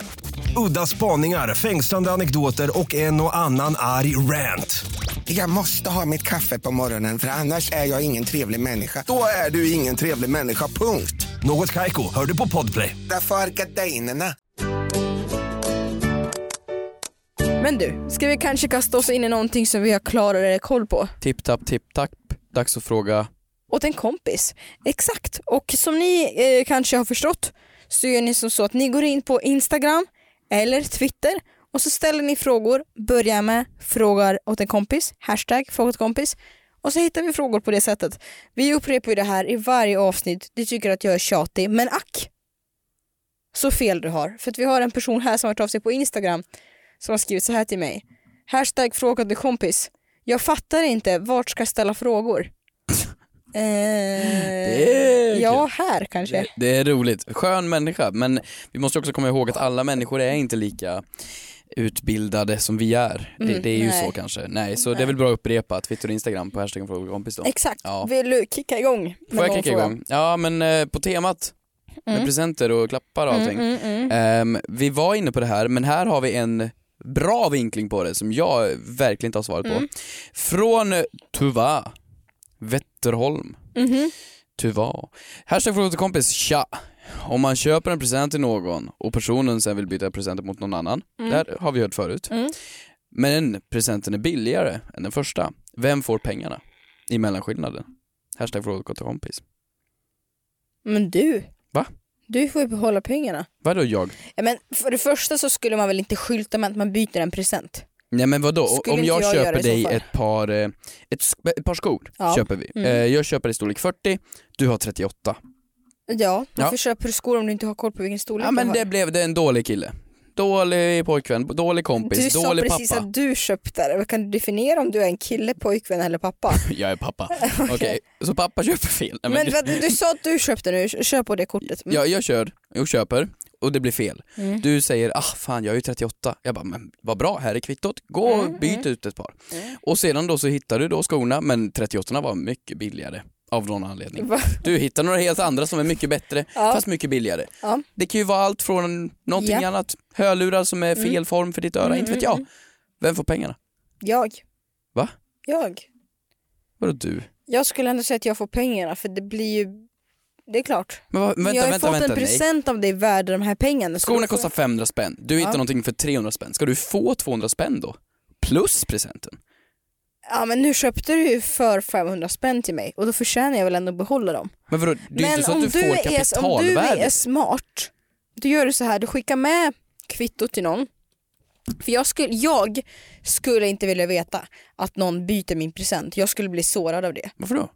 Speaker 7: Udda spaningar, fängslande anekdoter och en och annan arg rant.
Speaker 9: Jag måste ha mitt kaffe på morgonen för annars är jag ingen trevlig människa.
Speaker 8: Då är du ingen trevlig människa, punkt.
Speaker 7: Något Kaiko, hör du på Podplay.
Speaker 9: Därför är gardinerna.
Speaker 1: Men du, ska vi kanske kasta oss in i någonting som vi har klarare koll på?
Speaker 2: Tipp tapp tipp tapp. Dags att fråga.
Speaker 1: åt en kompis. Exakt. Och som ni eh, kanske har förstått så gör ni som så att ni går in på Instagram eller Twitter och så ställer ni frågor. Börja med frågar åt en kompis, hashtag fråga åt kompis. Och så hittar vi frågor på det sättet. Vi upprepar ju det här i varje avsnitt. Ni tycker att jag är tjatig, men ack så fel du har. För att vi har en person här som har tagit av sig på Instagram som har skrivit så här till mig. Hashtag fråga åt en kompis. Jag fattar inte, vart ska jag ställa frågor?
Speaker 2: är
Speaker 1: Eh, ja, här kanske.
Speaker 2: Det, det är roligt. Skön människa men vi måste också komma ihåg att alla människor är inte lika utbildade som vi är. Det, det är ju
Speaker 1: Mm. nej.
Speaker 2: så kanske. Nej, så det är väl bra att upprepa Twitter och Instagram på hashtaggen fråga kompis då.
Speaker 1: Exakt.
Speaker 2: Ja.
Speaker 1: Vill du kicka igång? med
Speaker 2: Får jag
Speaker 1: någon
Speaker 2: kicka
Speaker 1: fråga?
Speaker 2: igång? Ja men eh, på temat med presenter och klappar och allting. Ehm, vi var inne på det här men här har vi en bra vinkling på det som jag verkligen inte har svarat på. Från Tuva Wetterholm. Tuva. Hashtag fråga till kompis, tja. Om man köper en present till någon och personen sen vill byta presenten mot någon annan, där har vi hört förut. Men presenten är billigare än den första. Vem får pengarna i mellanskillnaden? Hashtag fråga till kompis.
Speaker 1: Men du.
Speaker 2: Va?
Speaker 1: Du får ju behålla pengarna.
Speaker 2: Vadå jag?
Speaker 1: Ja, Men för det första så skulle man väl inte skylta med att man byter en present?
Speaker 2: Nej men vadå,
Speaker 1: Skulle
Speaker 2: om
Speaker 1: inte
Speaker 2: jag,
Speaker 1: jag göra
Speaker 2: köper
Speaker 1: i så
Speaker 2: dig
Speaker 1: fall?
Speaker 2: ett par, eh, ett, sk- ett par skor,
Speaker 1: Ja.
Speaker 2: köper vi.
Speaker 1: Mm.
Speaker 2: Eh, Jag köper i storlek 40, du har 38.
Speaker 1: Ja, varför
Speaker 2: Ja.
Speaker 1: köper du skor om du inte har koll på vilken storlek
Speaker 2: Ja men
Speaker 1: de har?
Speaker 2: det blev det en dålig kille. Dålig pojkvän, dålig
Speaker 1: Du
Speaker 2: kompis,
Speaker 1: sa
Speaker 2: dålig
Speaker 1: precis
Speaker 2: pappa.
Speaker 1: att du köpte det. Kan du definiera om du är en kille, pojkvän eller pappa?
Speaker 2: Jag är pappa. Okej, så pappa köper fel.
Speaker 1: men
Speaker 2: Nej, men
Speaker 1: vad- du sa att du köpte nu, kör på det kortet. Mm.
Speaker 2: jag, jag kör och köper och det blir fel. Du säger ah fan jag är ju 38. Jag bara men vad bra, här är kvittot. Gå
Speaker 1: Mm,
Speaker 2: och byt ut ett par. Och sedan då så hittar du då skorna men 38 var mycket billigare av någon anledning.
Speaker 1: Va?
Speaker 2: Du hittar några helt andra som är mycket bättre fast mycket billigare.
Speaker 1: Ja.
Speaker 2: Det kan ju vara allt från någonting
Speaker 1: Ja. Mm.
Speaker 2: annat, hörlurar som är fel form för ditt öra, inte vet jag. Vem får pengarna?
Speaker 1: Jag.
Speaker 2: Va?
Speaker 1: Jag.
Speaker 2: Vadå du?
Speaker 1: Jag skulle ändå säga att jag får pengarna för det blir ju, det är klart.
Speaker 2: Men vad, vänta,
Speaker 1: jag har ju
Speaker 2: vänta,
Speaker 1: fått
Speaker 2: vänta,
Speaker 1: en
Speaker 2: nej.
Speaker 1: present av dig värd de här pengarna. så
Speaker 2: Skorna
Speaker 1: då får-
Speaker 2: kostar 500 spänn, du hittar någonting för 300 spänn. Ska du få 200 spänn då? Plus presenten?
Speaker 1: Ja men nu köpte du ju för 500 spänn till mig och då förtjänar jag väl ändå att behålla dem.
Speaker 2: Men vadå, det är
Speaker 1: men
Speaker 2: inte så att
Speaker 1: om
Speaker 2: du, får
Speaker 1: är, om du
Speaker 2: kapitalvärde.
Speaker 1: är smart, då gör du så här, du skickar med kvittot till någon. För jag skulle, jag skulle inte vilja veta att någon byter min present, jag skulle bli sårad av det.
Speaker 2: Varför då?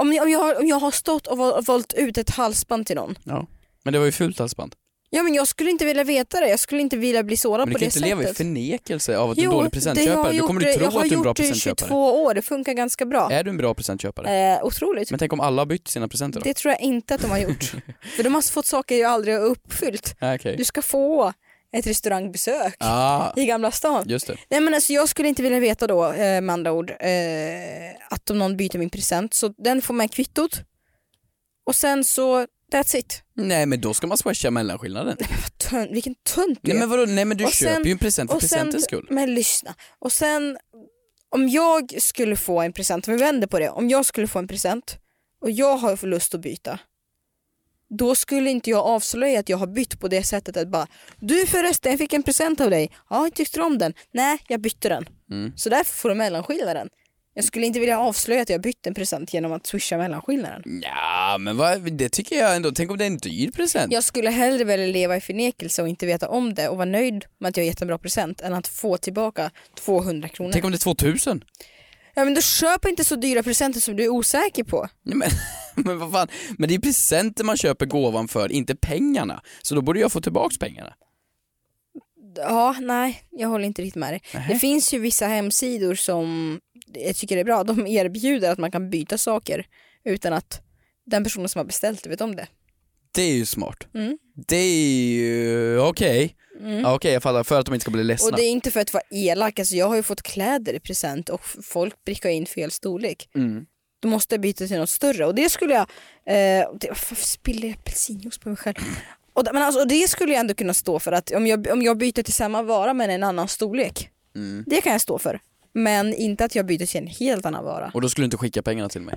Speaker 1: Om jag, om jag, har- om jag har stått och val- valt ut ett halsband till någon,
Speaker 2: Ja. Men det var ju fult halsband.
Speaker 1: ja men jag skulle inte vilja veta det, jag skulle inte vilja bli sårad på
Speaker 2: Men du kan
Speaker 1: det
Speaker 2: inte
Speaker 1: sättet.
Speaker 2: leva i förnekelse av att du är en
Speaker 1: Jo,
Speaker 2: dålig
Speaker 1: det har
Speaker 2: presentköpare.
Speaker 1: jag
Speaker 2: Då kommer du
Speaker 1: gjort-
Speaker 2: tro att du är en bra
Speaker 1: Jag har
Speaker 2: presentköpare.
Speaker 1: gjort det i 22 år, det funkar ganska bra.
Speaker 2: Är du en bra presentköpare?
Speaker 1: Eh, otroligt.
Speaker 2: Men tänk om alla har bytt sina presenter då?
Speaker 1: Det tror jag inte att de har gjort. För de har fått saker jag aldrig har uppfyllt.
Speaker 2: Ah, Okej.
Speaker 1: Du ska få ett restaurangbesök
Speaker 2: Ah,
Speaker 1: i Gamla stan.
Speaker 2: just det.
Speaker 1: Nej men alltså jag skulle inte vilja veta då eh, med andra ord eh, att om någon byter min present så den får med kvittot Och sen så, that's it.
Speaker 2: Nej men då ska man swisha mellanskillnaden.
Speaker 1: Tön, vilken tönt du
Speaker 2: Nej
Speaker 1: är.
Speaker 2: men vadå, nej men du
Speaker 1: Och
Speaker 2: köper
Speaker 1: sen-
Speaker 2: ju en present för
Speaker 1: och sen,
Speaker 2: presentens skull.
Speaker 1: Men lyssna. Och sen om jag skulle få en present, om vi vänder på det, om jag skulle få en present och jag har för lust att byta, då skulle inte jag avslöja att jag har bytt på det sättet att bara du förresten jag fick en present av dig, ja tyckte du om den? Nej jag bytte den.
Speaker 2: Mm.
Speaker 1: Så därför får du mellanskillnaden. Jag skulle inte vilja avslöja att jag bytt en present genom att swisha mellanskillnaden.
Speaker 2: Ja men vad, det tycker jag ändå, tänk om det är en dyr present.
Speaker 1: Jag skulle hellre välja leva i förnekelse och inte veta om det och vara nöjd med att jag gett en bra present än att få tillbaka 200 kronor.
Speaker 2: Tänk om det är 2000?
Speaker 1: Ja men då köp inte så dyra presenter som du är osäker på.
Speaker 2: Nej, men, men vad fan, men det är presenter man köper gåvan för, inte pengarna. Så då borde jag få tillbaks pengarna.
Speaker 1: Ja, nej, jag håller inte riktigt med dig. Det finns ju vissa hemsidor som jag tycker är bra. De erbjuder att man kan byta saker utan att den personen som har beställt det vet om det.
Speaker 2: Det är ju smart.
Speaker 1: Mm.
Speaker 2: Det är ju, okej. Ja, Okej jag fattar, för att de inte ska bli ledsna.
Speaker 1: Och det är inte för att vara elak, alltså jag har ju fått kläder i present och f- folk prickar in fel storlek.
Speaker 2: Mm.
Speaker 1: Du måste byta till något större och det skulle jag... Eh, det, varför spiller jag apelsinjuice på mig själv? Och, det- men alltså, och det skulle jag ändå kunna stå för att om jag, om jag byter till samma vara men en annan storlek.
Speaker 2: Mm.
Speaker 1: Det kan jag stå för. Men inte att jag byter till en helt annan vara.
Speaker 2: Och då skulle du inte skicka pengarna till mig?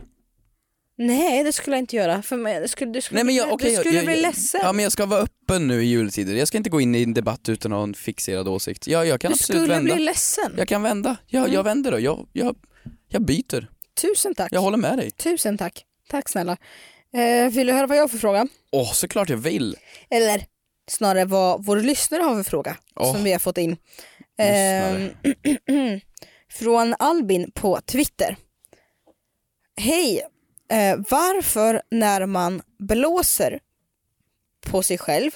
Speaker 1: Nej det skulle jag inte göra för mig, det skulle, du skulle,
Speaker 2: Nej, men jag,
Speaker 1: du
Speaker 2: okej, jag-
Speaker 1: skulle
Speaker 2: jag,
Speaker 1: bli
Speaker 2: jag,
Speaker 1: ledsen.
Speaker 2: Ja men jag ska vara öppen nu i jultider, jag ska inte gå in i en debatt utan att ha en fixerad åsikt. Jag, jag kan
Speaker 1: du
Speaker 2: absolut
Speaker 1: skulle
Speaker 2: vända.
Speaker 1: bli Mm. ledsen.
Speaker 2: Jag kan vända, jag, jag vänder då, jag, jag, jag byter.
Speaker 1: Tusen tack.
Speaker 2: Jag håller med dig.
Speaker 1: Tusen tack. Tack snälla. Eh, vill du höra vad jag har för fråga?
Speaker 2: Åh såklart jag vill.
Speaker 1: Eller snarare vad vår lyssnare har för fråga
Speaker 2: Åh.
Speaker 1: som vi har fått in.
Speaker 2: Lyssnare.
Speaker 1: Ehm, från Albin på Twitter. Hej! Eh, varför när man blåser på sig själv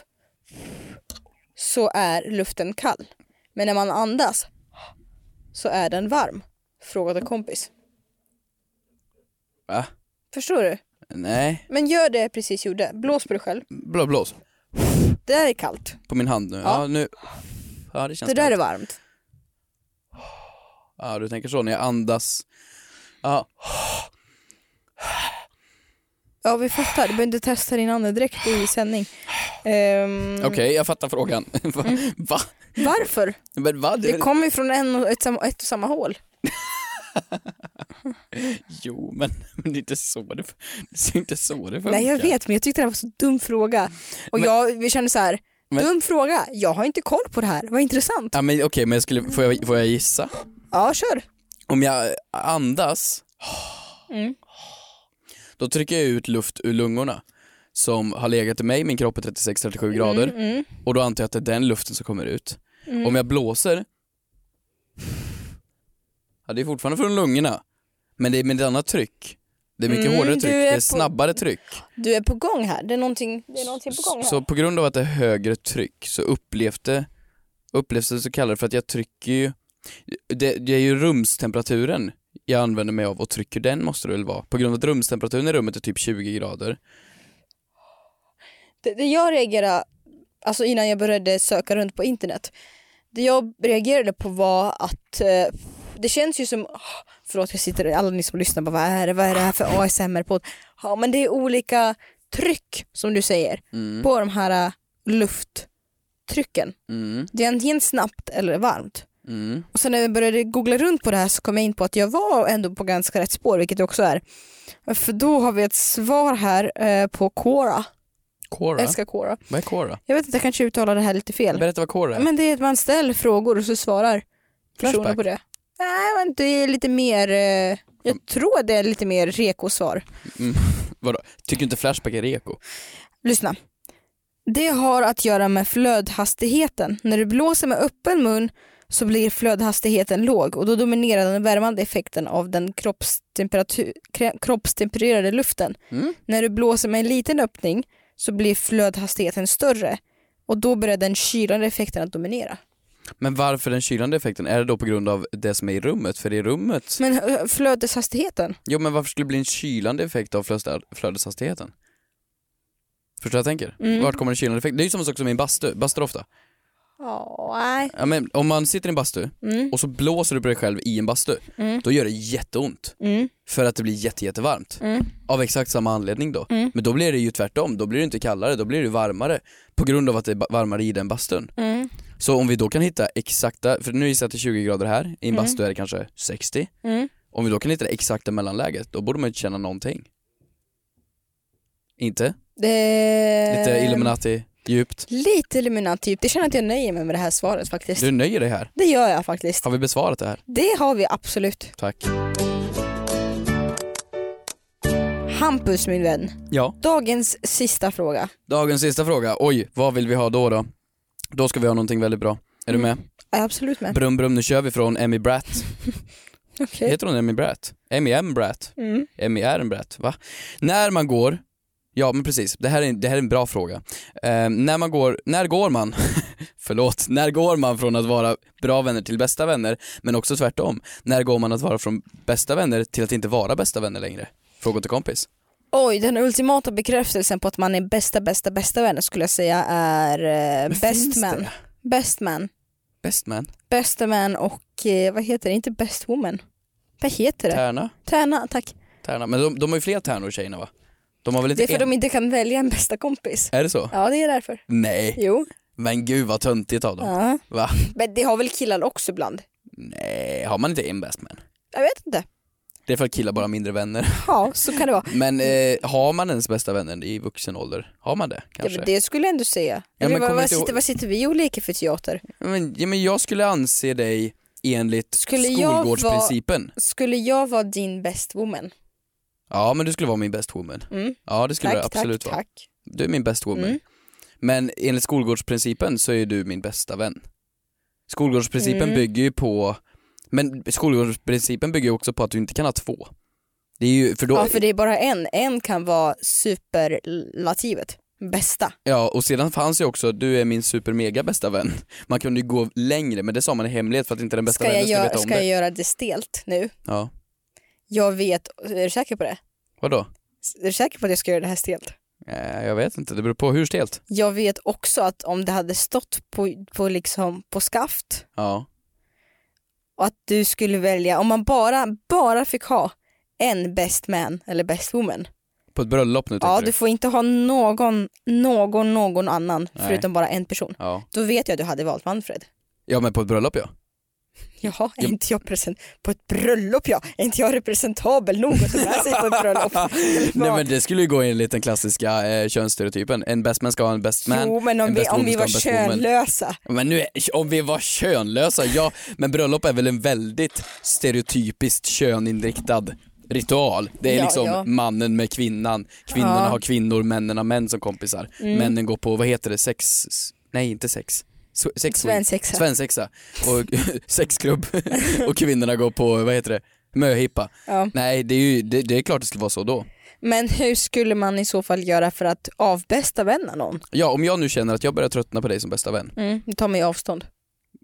Speaker 1: så är luften kall men när man andas så är den varm? Frågade kompis.
Speaker 2: Va?
Speaker 1: Förstår du?
Speaker 2: Äh, Nej,
Speaker 1: Men gör det jag precis gjorde. Blås på dig själv.
Speaker 2: blå, blås.
Speaker 1: Det där är kallt.
Speaker 2: På min hand nu. Ja, nu. Ja det känns
Speaker 1: Det där
Speaker 2: bra.
Speaker 1: är varmt.
Speaker 2: Ja du tänker så, när jag andas. Ja,
Speaker 1: Ja vi fattar, du behöver inte testa din andedräkt i sändning. Ehm,
Speaker 2: okej jag fattar frågan. va? va?
Speaker 1: Varför?
Speaker 2: Men va? Det,
Speaker 1: Mm. Det kommer ju från en och ett, sam- ett och samma hål.
Speaker 2: Jo men, men det är inte så det, det är inte så det funkar.
Speaker 1: Nej jag vet men jag tyckte det här var så dum fråga. Och jag vi kände så här,
Speaker 2: Men-
Speaker 1: dum fråga, jag har inte koll på det här, vad intressant.
Speaker 2: Ja, men okej men jag skulle, får, jag, får jag gissa?
Speaker 1: Ja kör.
Speaker 2: Om jag andas,
Speaker 1: Mm.
Speaker 2: då trycker jag ut luft ur lungorna som har legat i mig, min kropp är 36-37
Speaker 1: Mm,
Speaker 2: grader och då antar jag att det är den luften som kommer ut.
Speaker 1: Mm.
Speaker 2: Om jag blåser, ja, det är fortfarande från lungorna men det är med ett annat tryck. Det är mycket
Speaker 1: Mm,
Speaker 2: hårdare
Speaker 1: du
Speaker 2: tryck,
Speaker 1: är
Speaker 2: det är
Speaker 1: på-
Speaker 2: snabbare tryck.
Speaker 1: Du är på gång här, det är någonting, det är någonting på gång här.
Speaker 2: Så på grund av att det är högre tryck så upplevde, upplevs det så kallade för att jag trycker ju, det, det är ju rumstemperaturen jag använder mig av och trycker den måste det väl vara. På grund av att rumstemperaturen i rummet är typ 20 grader.
Speaker 1: Det, det jag reagerade, alltså innan jag började söka runt på internet, det jag reagerade på var att eh, det känns ju som, ah, förlåt jag sitter, alla ni som lyssnar på vad är det, vad är det här för ASMR-podd? Ja men det är olika tryck som du säger på de här eh, lufttrycken.
Speaker 2: Mm,
Speaker 1: Det är antingen snabbt eller varmt.
Speaker 2: mm.
Speaker 1: Och sen när jag började googla runt på det här så kom jag in på att jag var ändå på ganska rätt spår, vilket jag också är. För då har vi ett svar här eh, på Quora.
Speaker 2: Quora?
Speaker 1: Älskar Quora.
Speaker 2: Vad är Quora?
Speaker 1: Jag vet inte, jag kanske uttalar det här lite fel.
Speaker 2: Berätta vad Quora är.
Speaker 1: Men det är att man ställer frågor och så svarar personer
Speaker 2: Flashback.
Speaker 1: på det. Nej, men det är lite mer... eh, Jag tror det är lite mer reko-svar.
Speaker 2: Vadå? Tycker inte Flashback är reko?
Speaker 1: Lyssna. Det har att göra med flödhastigheten. När du blåser med öppen mun så blir flödhastigheten låg och då dominerar den värmande effekten av den kroppstemperatur- kre- kroppstempererade luften.
Speaker 2: Mm.
Speaker 1: När du blåser med en liten öppning så blir flödhastigheten större och då börjar den kylande effekten att dominera.
Speaker 2: Men varför den kylande effekten? Är det då på grund av det som är i rummet? För i rummet...
Speaker 1: Men ö, flödeshastigheten?
Speaker 2: Jo men varför skulle det bli en kylande effekt av flödes- flödeshastigheten?
Speaker 1: Mm.
Speaker 2: Förstår du vad jag tänker? Vart kommer den kylande effekten? Det är ju samma sak som i en bastu, bastar ofta.
Speaker 1: Ja, nej. Mm.
Speaker 2: Ja, men om man sitter i en bastu och så blåser du på dig själv i en bastu, då gör det jätteont.
Speaker 1: Mm.
Speaker 2: För att det blir jätte, jättevarmt. Av exakt samma anledning då.
Speaker 1: Mm.
Speaker 2: Men då blir det ju tvärtom, då blir det inte kallare, då blir det varmare. På grund av att det är ba- varmare i den bastun.
Speaker 1: Mm.
Speaker 2: Så om vi då kan hitta exakta, för nu gissar jag att det är 20 grader här, i en
Speaker 1: Mm.
Speaker 2: bastu är det kanske 60. Om vi då kan hitta det exakta mellanläget, då borde man ju inte känna någonting. Inte?
Speaker 1: Det...
Speaker 2: Lite Illuminati, djupt.
Speaker 1: Lite Illuminati, typ. Det känner att jag nöjer mig med det här svaret faktiskt.
Speaker 2: Du nöjer dig här.
Speaker 1: Det gör jag faktiskt.
Speaker 2: Har vi besvarat det här?
Speaker 1: Det har vi absolut.
Speaker 2: Tack.
Speaker 1: Hampus min vän,
Speaker 2: Ja.
Speaker 1: dagens sista fråga.
Speaker 2: Dagens sista fråga. Oj, vad vill vi ha då då? Då ska vi ha någonting väldigt bra. Är du med?
Speaker 1: Jag är absolut med.
Speaker 2: Brum brum, nu kör vi från Emmy Bratt.
Speaker 1: Okej.
Speaker 2: Heter hon Emmy Bratt? Emmy M Bratt?
Speaker 1: Mm.
Speaker 2: Emmy är en Bratt, va? När man går, ja men precis, det här är, det här är en bra fråga. Eh, när man går, när går man, förlåt, när går man från att vara bra vänner till bästa vänner, men också tvärtom. När går man att vara från bästa vänner till att inte vara bästa vänner längre? Frågor till kompis.
Speaker 1: Oj, den ultimata bekräftelsen på att man är bästa, bästa, bästa vänner skulle jag säga är eh, best
Speaker 2: finns
Speaker 1: man.
Speaker 2: det?
Speaker 1: Best man.
Speaker 2: Best man,
Speaker 1: Bästa man och eh, vad heter det, inte best woman. Vad heter det?
Speaker 2: tärna,
Speaker 1: Tärna, tack.
Speaker 2: tärna. Men de, de har ju fler tärnor tjejerna va? De har väl inte
Speaker 1: Det är för
Speaker 2: en?
Speaker 1: att de inte kan välja en bästa kompis.
Speaker 2: Är det så?
Speaker 1: Ja, det är därför.
Speaker 2: Nej,
Speaker 1: Jo.
Speaker 2: men gud vad töntigt av dem.
Speaker 1: Ja.
Speaker 2: Va?
Speaker 1: Men det har väl killar också ibland?
Speaker 2: Nej, har man inte en best man?
Speaker 1: Jag vet inte.
Speaker 2: Det är för att killar bara har mindre vänner.
Speaker 1: Ja, så kan det vara.
Speaker 2: Men eh, har man ens bästa vänner i vuxen ålder? Har man det
Speaker 1: Ja,
Speaker 2: kanske?
Speaker 1: men det skulle jag ändå säga.
Speaker 2: Ja,
Speaker 1: Eller
Speaker 2: men
Speaker 1: vad,
Speaker 2: kommer
Speaker 1: vad,
Speaker 2: inte ihåg-
Speaker 1: sitter, vad sitter vi och leker för teater?
Speaker 2: men, ja, men jag skulle anse dig enligt
Speaker 1: Skulle jag
Speaker 2: skolgårdsprincipen.
Speaker 1: Skulle jag vara din best woman?
Speaker 2: Ja men du skulle vara min best woman.
Speaker 1: Mm.
Speaker 2: Ja det skulle
Speaker 1: Tack,
Speaker 2: du absolut
Speaker 1: tack,
Speaker 2: vara.
Speaker 1: tack.
Speaker 2: Du är min best woman.
Speaker 1: Mm.
Speaker 2: Men enligt skolgårdsprincipen så är du min bästa vän. Skolgårdsprincipen
Speaker 1: Mm.
Speaker 2: bygger ju på, men skolgårdsprincipen bygger ju också på att du inte kan ha två. Det är ju, för då,
Speaker 1: Ja, för det är bara en. En kan vara superlativet. Bästa.
Speaker 2: Ja, och sedan fanns ju också du är min super mega bästa vän. Man kunde ju gå längre, men det sa man i hemlighet för att inte den bästa
Speaker 1: Ska jag,
Speaker 2: vännen skulle
Speaker 1: göra,
Speaker 2: veta om
Speaker 1: ska jag
Speaker 2: det.
Speaker 1: göra det stelt nu?
Speaker 2: Ja,
Speaker 1: Jag vet, är du säker på det?
Speaker 2: vadå?
Speaker 1: Är du säker på att jag ska göra det här stelt?
Speaker 2: Eh, jag vet inte, det beror på hur stelt.
Speaker 1: Jag vet också att om det hade stått på, på, liksom, på skaft
Speaker 2: Ja,
Speaker 1: och att du skulle välja, om man bara, bara fick ha en best man eller best woman.
Speaker 2: på ett bröllop nu
Speaker 1: Ja,
Speaker 2: tänker
Speaker 1: du får inte ha någon, någon, någon annan
Speaker 2: Nej.
Speaker 1: förutom bara en person.
Speaker 2: Ja.
Speaker 1: Då vet jag att du hade valt Manfred.
Speaker 2: ja, men på ett bröllop ja.
Speaker 1: Jaha, är
Speaker 2: Ja.
Speaker 1: inte jag present på ett bröllop ja? Är inte jag representabel nog att ta med sig på ett bröllop? Eller
Speaker 2: Nej
Speaker 1: vad?
Speaker 2: men det skulle ju gå enligt den klassiska eh, könsstereotypen. En best man ska ha en best man.
Speaker 1: jo, men om
Speaker 2: en
Speaker 1: vi,
Speaker 2: best
Speaker 1: om
Speaker 2: woman
Speaker 1: vi
Speaker 2: ska
Speaker 1: var
Speaker 2: ha en best woman.
Speaker 1: könlösa.
Speaker 2: Men nu, är- om vi var könlösa, ja, men bröllop är väl en väldigt stereotypiskt köninriktad ritual. Det är
Speaker 1: Ja,
Speaker 2: liksom
Speaker 1: ja.
Speaker 2: mannen med kvinnan, kvinnorna
Speaker 1: Ja. Mm.
Speaker 2: har kvinnor, männen har män som kompisar. Männen går på, vad heter det, sex, nej inte sex. s- sex
Speaker 1: Svensexa.
Speaker 2: Svensexa. Och sexklubb. och kvinnorna går på, vad heter det, möhippa.
Speaker 1: Ja.
Speaker 2: Nej, det är ju, det, det är klart det skulle vara så då.
Speaker 1: Men hur skulle man i så fall göra för att avbästa vänna någon?
Speaker 2: Ja, om jag nu känner att jag börjar tröttna på dig som bästa vän.
Speaker 1: Mm, ta mig avstånd.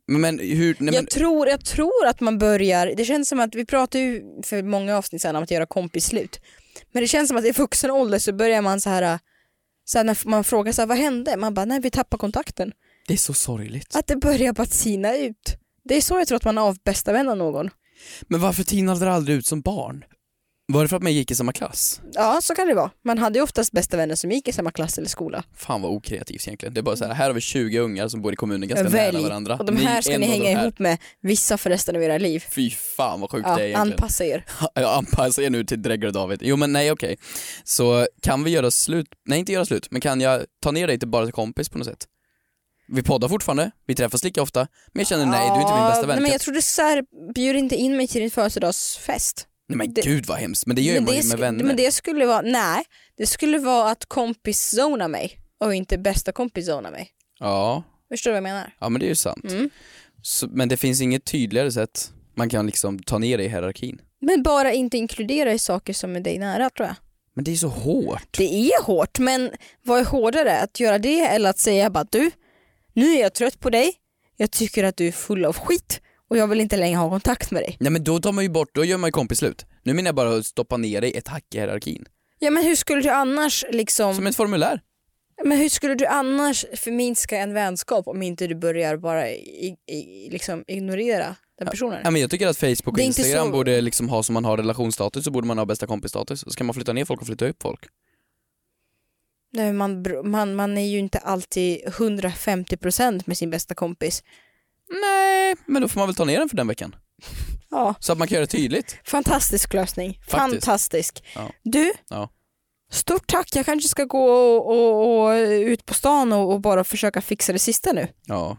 Speaker 2: Men hur, nej, men,
Speaker 1: Mm. Jag, tror, jag tror att man börjar, det känns som att vi pratade ju för många avsnitt sedan om att göra kompisslut. Men det känns som att i vuxen ålder så börjar man så här, så här när man frågar så här, vad hände? Man bara, nej vi tappar kontakten.
Speaker 2: det är så sorgligt.
Speaker 1: Att det börjar bara sina ut. Det är så jag tror att man avbästa vänner någon.
Speaker 2: Men varför tinade det aldrig ut som barn? Var det för att man gick i samma klass?
Speaker 1: Ja så kan det vara. Man hade ju oftast bästa vänner som gick i samma klass eller skola.
Speaker 2: Fan vad okreativt egentligen. Det är bara så här, här har vi 20 ungar som bor i kommunen ganska nära varandra.
Speaker 1: Och de här ska
Speaker 2: en
Speaker 1: ni
Speaker 2: av
Speaker 1: hänga
Speaker 2: de här.
Speaker 1: ihop med, vissa för resten av era liv.
Speaker 2: Fy fan vad sjukt det är
Speaker 1: Ja,
Speaker 2: egentligen.
Speaker 1: anpassa er.
Speaker 2: Ja, anpassa er nu till Dregger och David. Jo men nej okej. Så kan vi göra slut, nej inte göra slut, men kan jag ta ner dig till bara till kompis på något sätt? Vi poddar fortfarande, vi träffas lika ofta, men jag känner nej du är inte min bästa vän. typ.
Speaker 1: Nej, men jag
Speaker 2: Kan-
Speaker 1: trodde så här, bjud inte in mig till din födelsedagsfest.
Speaker 2: nej, men
Speaker 1: det-
Speaker 2: gud vad hemskt, men det gör ju man ju med
Speaker 1: sk-
Speaker 2: vänner.
Speaker 1: Men det skulle vara, nej, det skulle vara att kompiszona mig och inte bästa kompiszona mig.
Speaker 2: Ja,
Speaker 1: Förstår du vad jag menar?
Speaker 2: ja men det är ju sant.
Speaker 1: Mm.
Speaker 2: Så, men det finns inget tydligare sätt man kan liksom ta ner dig i hierarkin.
Speaker 1: Men bara inte inkludera i saker som är dig nära tror jag.
Speaker 2: Men det är så hårt.
Speaker 1: Det är hårt, men vad är hårdare? Att göra det eller att säga bara du, nu är jag trött på dig, jag tycker att du är full av skit och jag vill inte längre ha kontakt med dig.
Speaker 2: Nej men då tar man ju bort, då gör man ju kompisslut. Nu menar jag bara att stoppa ner dig ett hack i hierarkin.
Speaker 1: Ja men hur skulle du annars liksom,
Speaker 2: Som ett formulär.
Speaker 1: Men hur skulle du annars förminska en vänskap om inte du börjar bara i, i, liksom ignorera den personen?
Speaker 2: Ja, men jag tycker att Facebook och
Speaker 1: Det är inte
Speaker 2: Instagram
Speaker 1: så-
Speaker 2: borde liksom ha som man har relationsstatus så borde man ha bästa kompisstatus. Så kan man flytta ner folk och flytta upp folk.
Speaker 1: Nej, man, br- man, man är ju inte alltid 150% med sin bästa kompis.
Speaker 2: Nej, men då får man väl ta ner den för den veckan.
Speaker 1: Ja,
Speaker 2: Så att man kan göra det tydligt.
Speaker 1: fantastisk lösning.
Speaker 2: Faktiskt.
Speaker 1: Fantastisk.
Speaker 2: Ja.
Speaker 1: Du,
Speaker 2: Ja.
Speaker 1: stort tack. Jag kanske ska gå och, och, och ut på stan och, och bara försöka fixa det sista nu.
Speaker 2: Ja.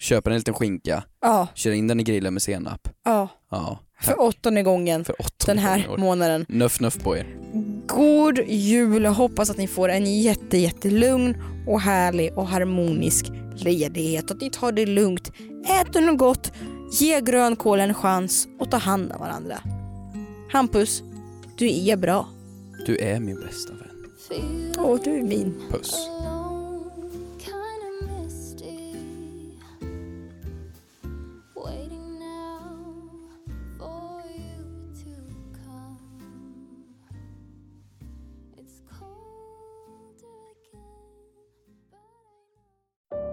Speaker 2: Köpa en liten skinka,
Speaker 1: Ja,
Speaker 2: kör in den i grillen med senap.
Speaker 1: ja.
Speaker 2: Ja.
Speaker 1: För åttonde gången
Speaker 2: För åtta
Speaker 1: den här månaden.
Speaker 2: Nuff nuff på er.
Speaker 1: God jul och hoppas att ni får en jätte, jättelugn och härlig och harmonisk ledighet. Att ni tar det lugnt, äter något gott, ge grönkål en chans och ta hand om varandra. Hampus, du är bra.
Speaker 2: Du är min bästa vän.
Speaker 1: Åh, du är min.
Speaker 2: Puss.
Speaker 6: Kinda misty, waiting now for you to come. It's colder again, but I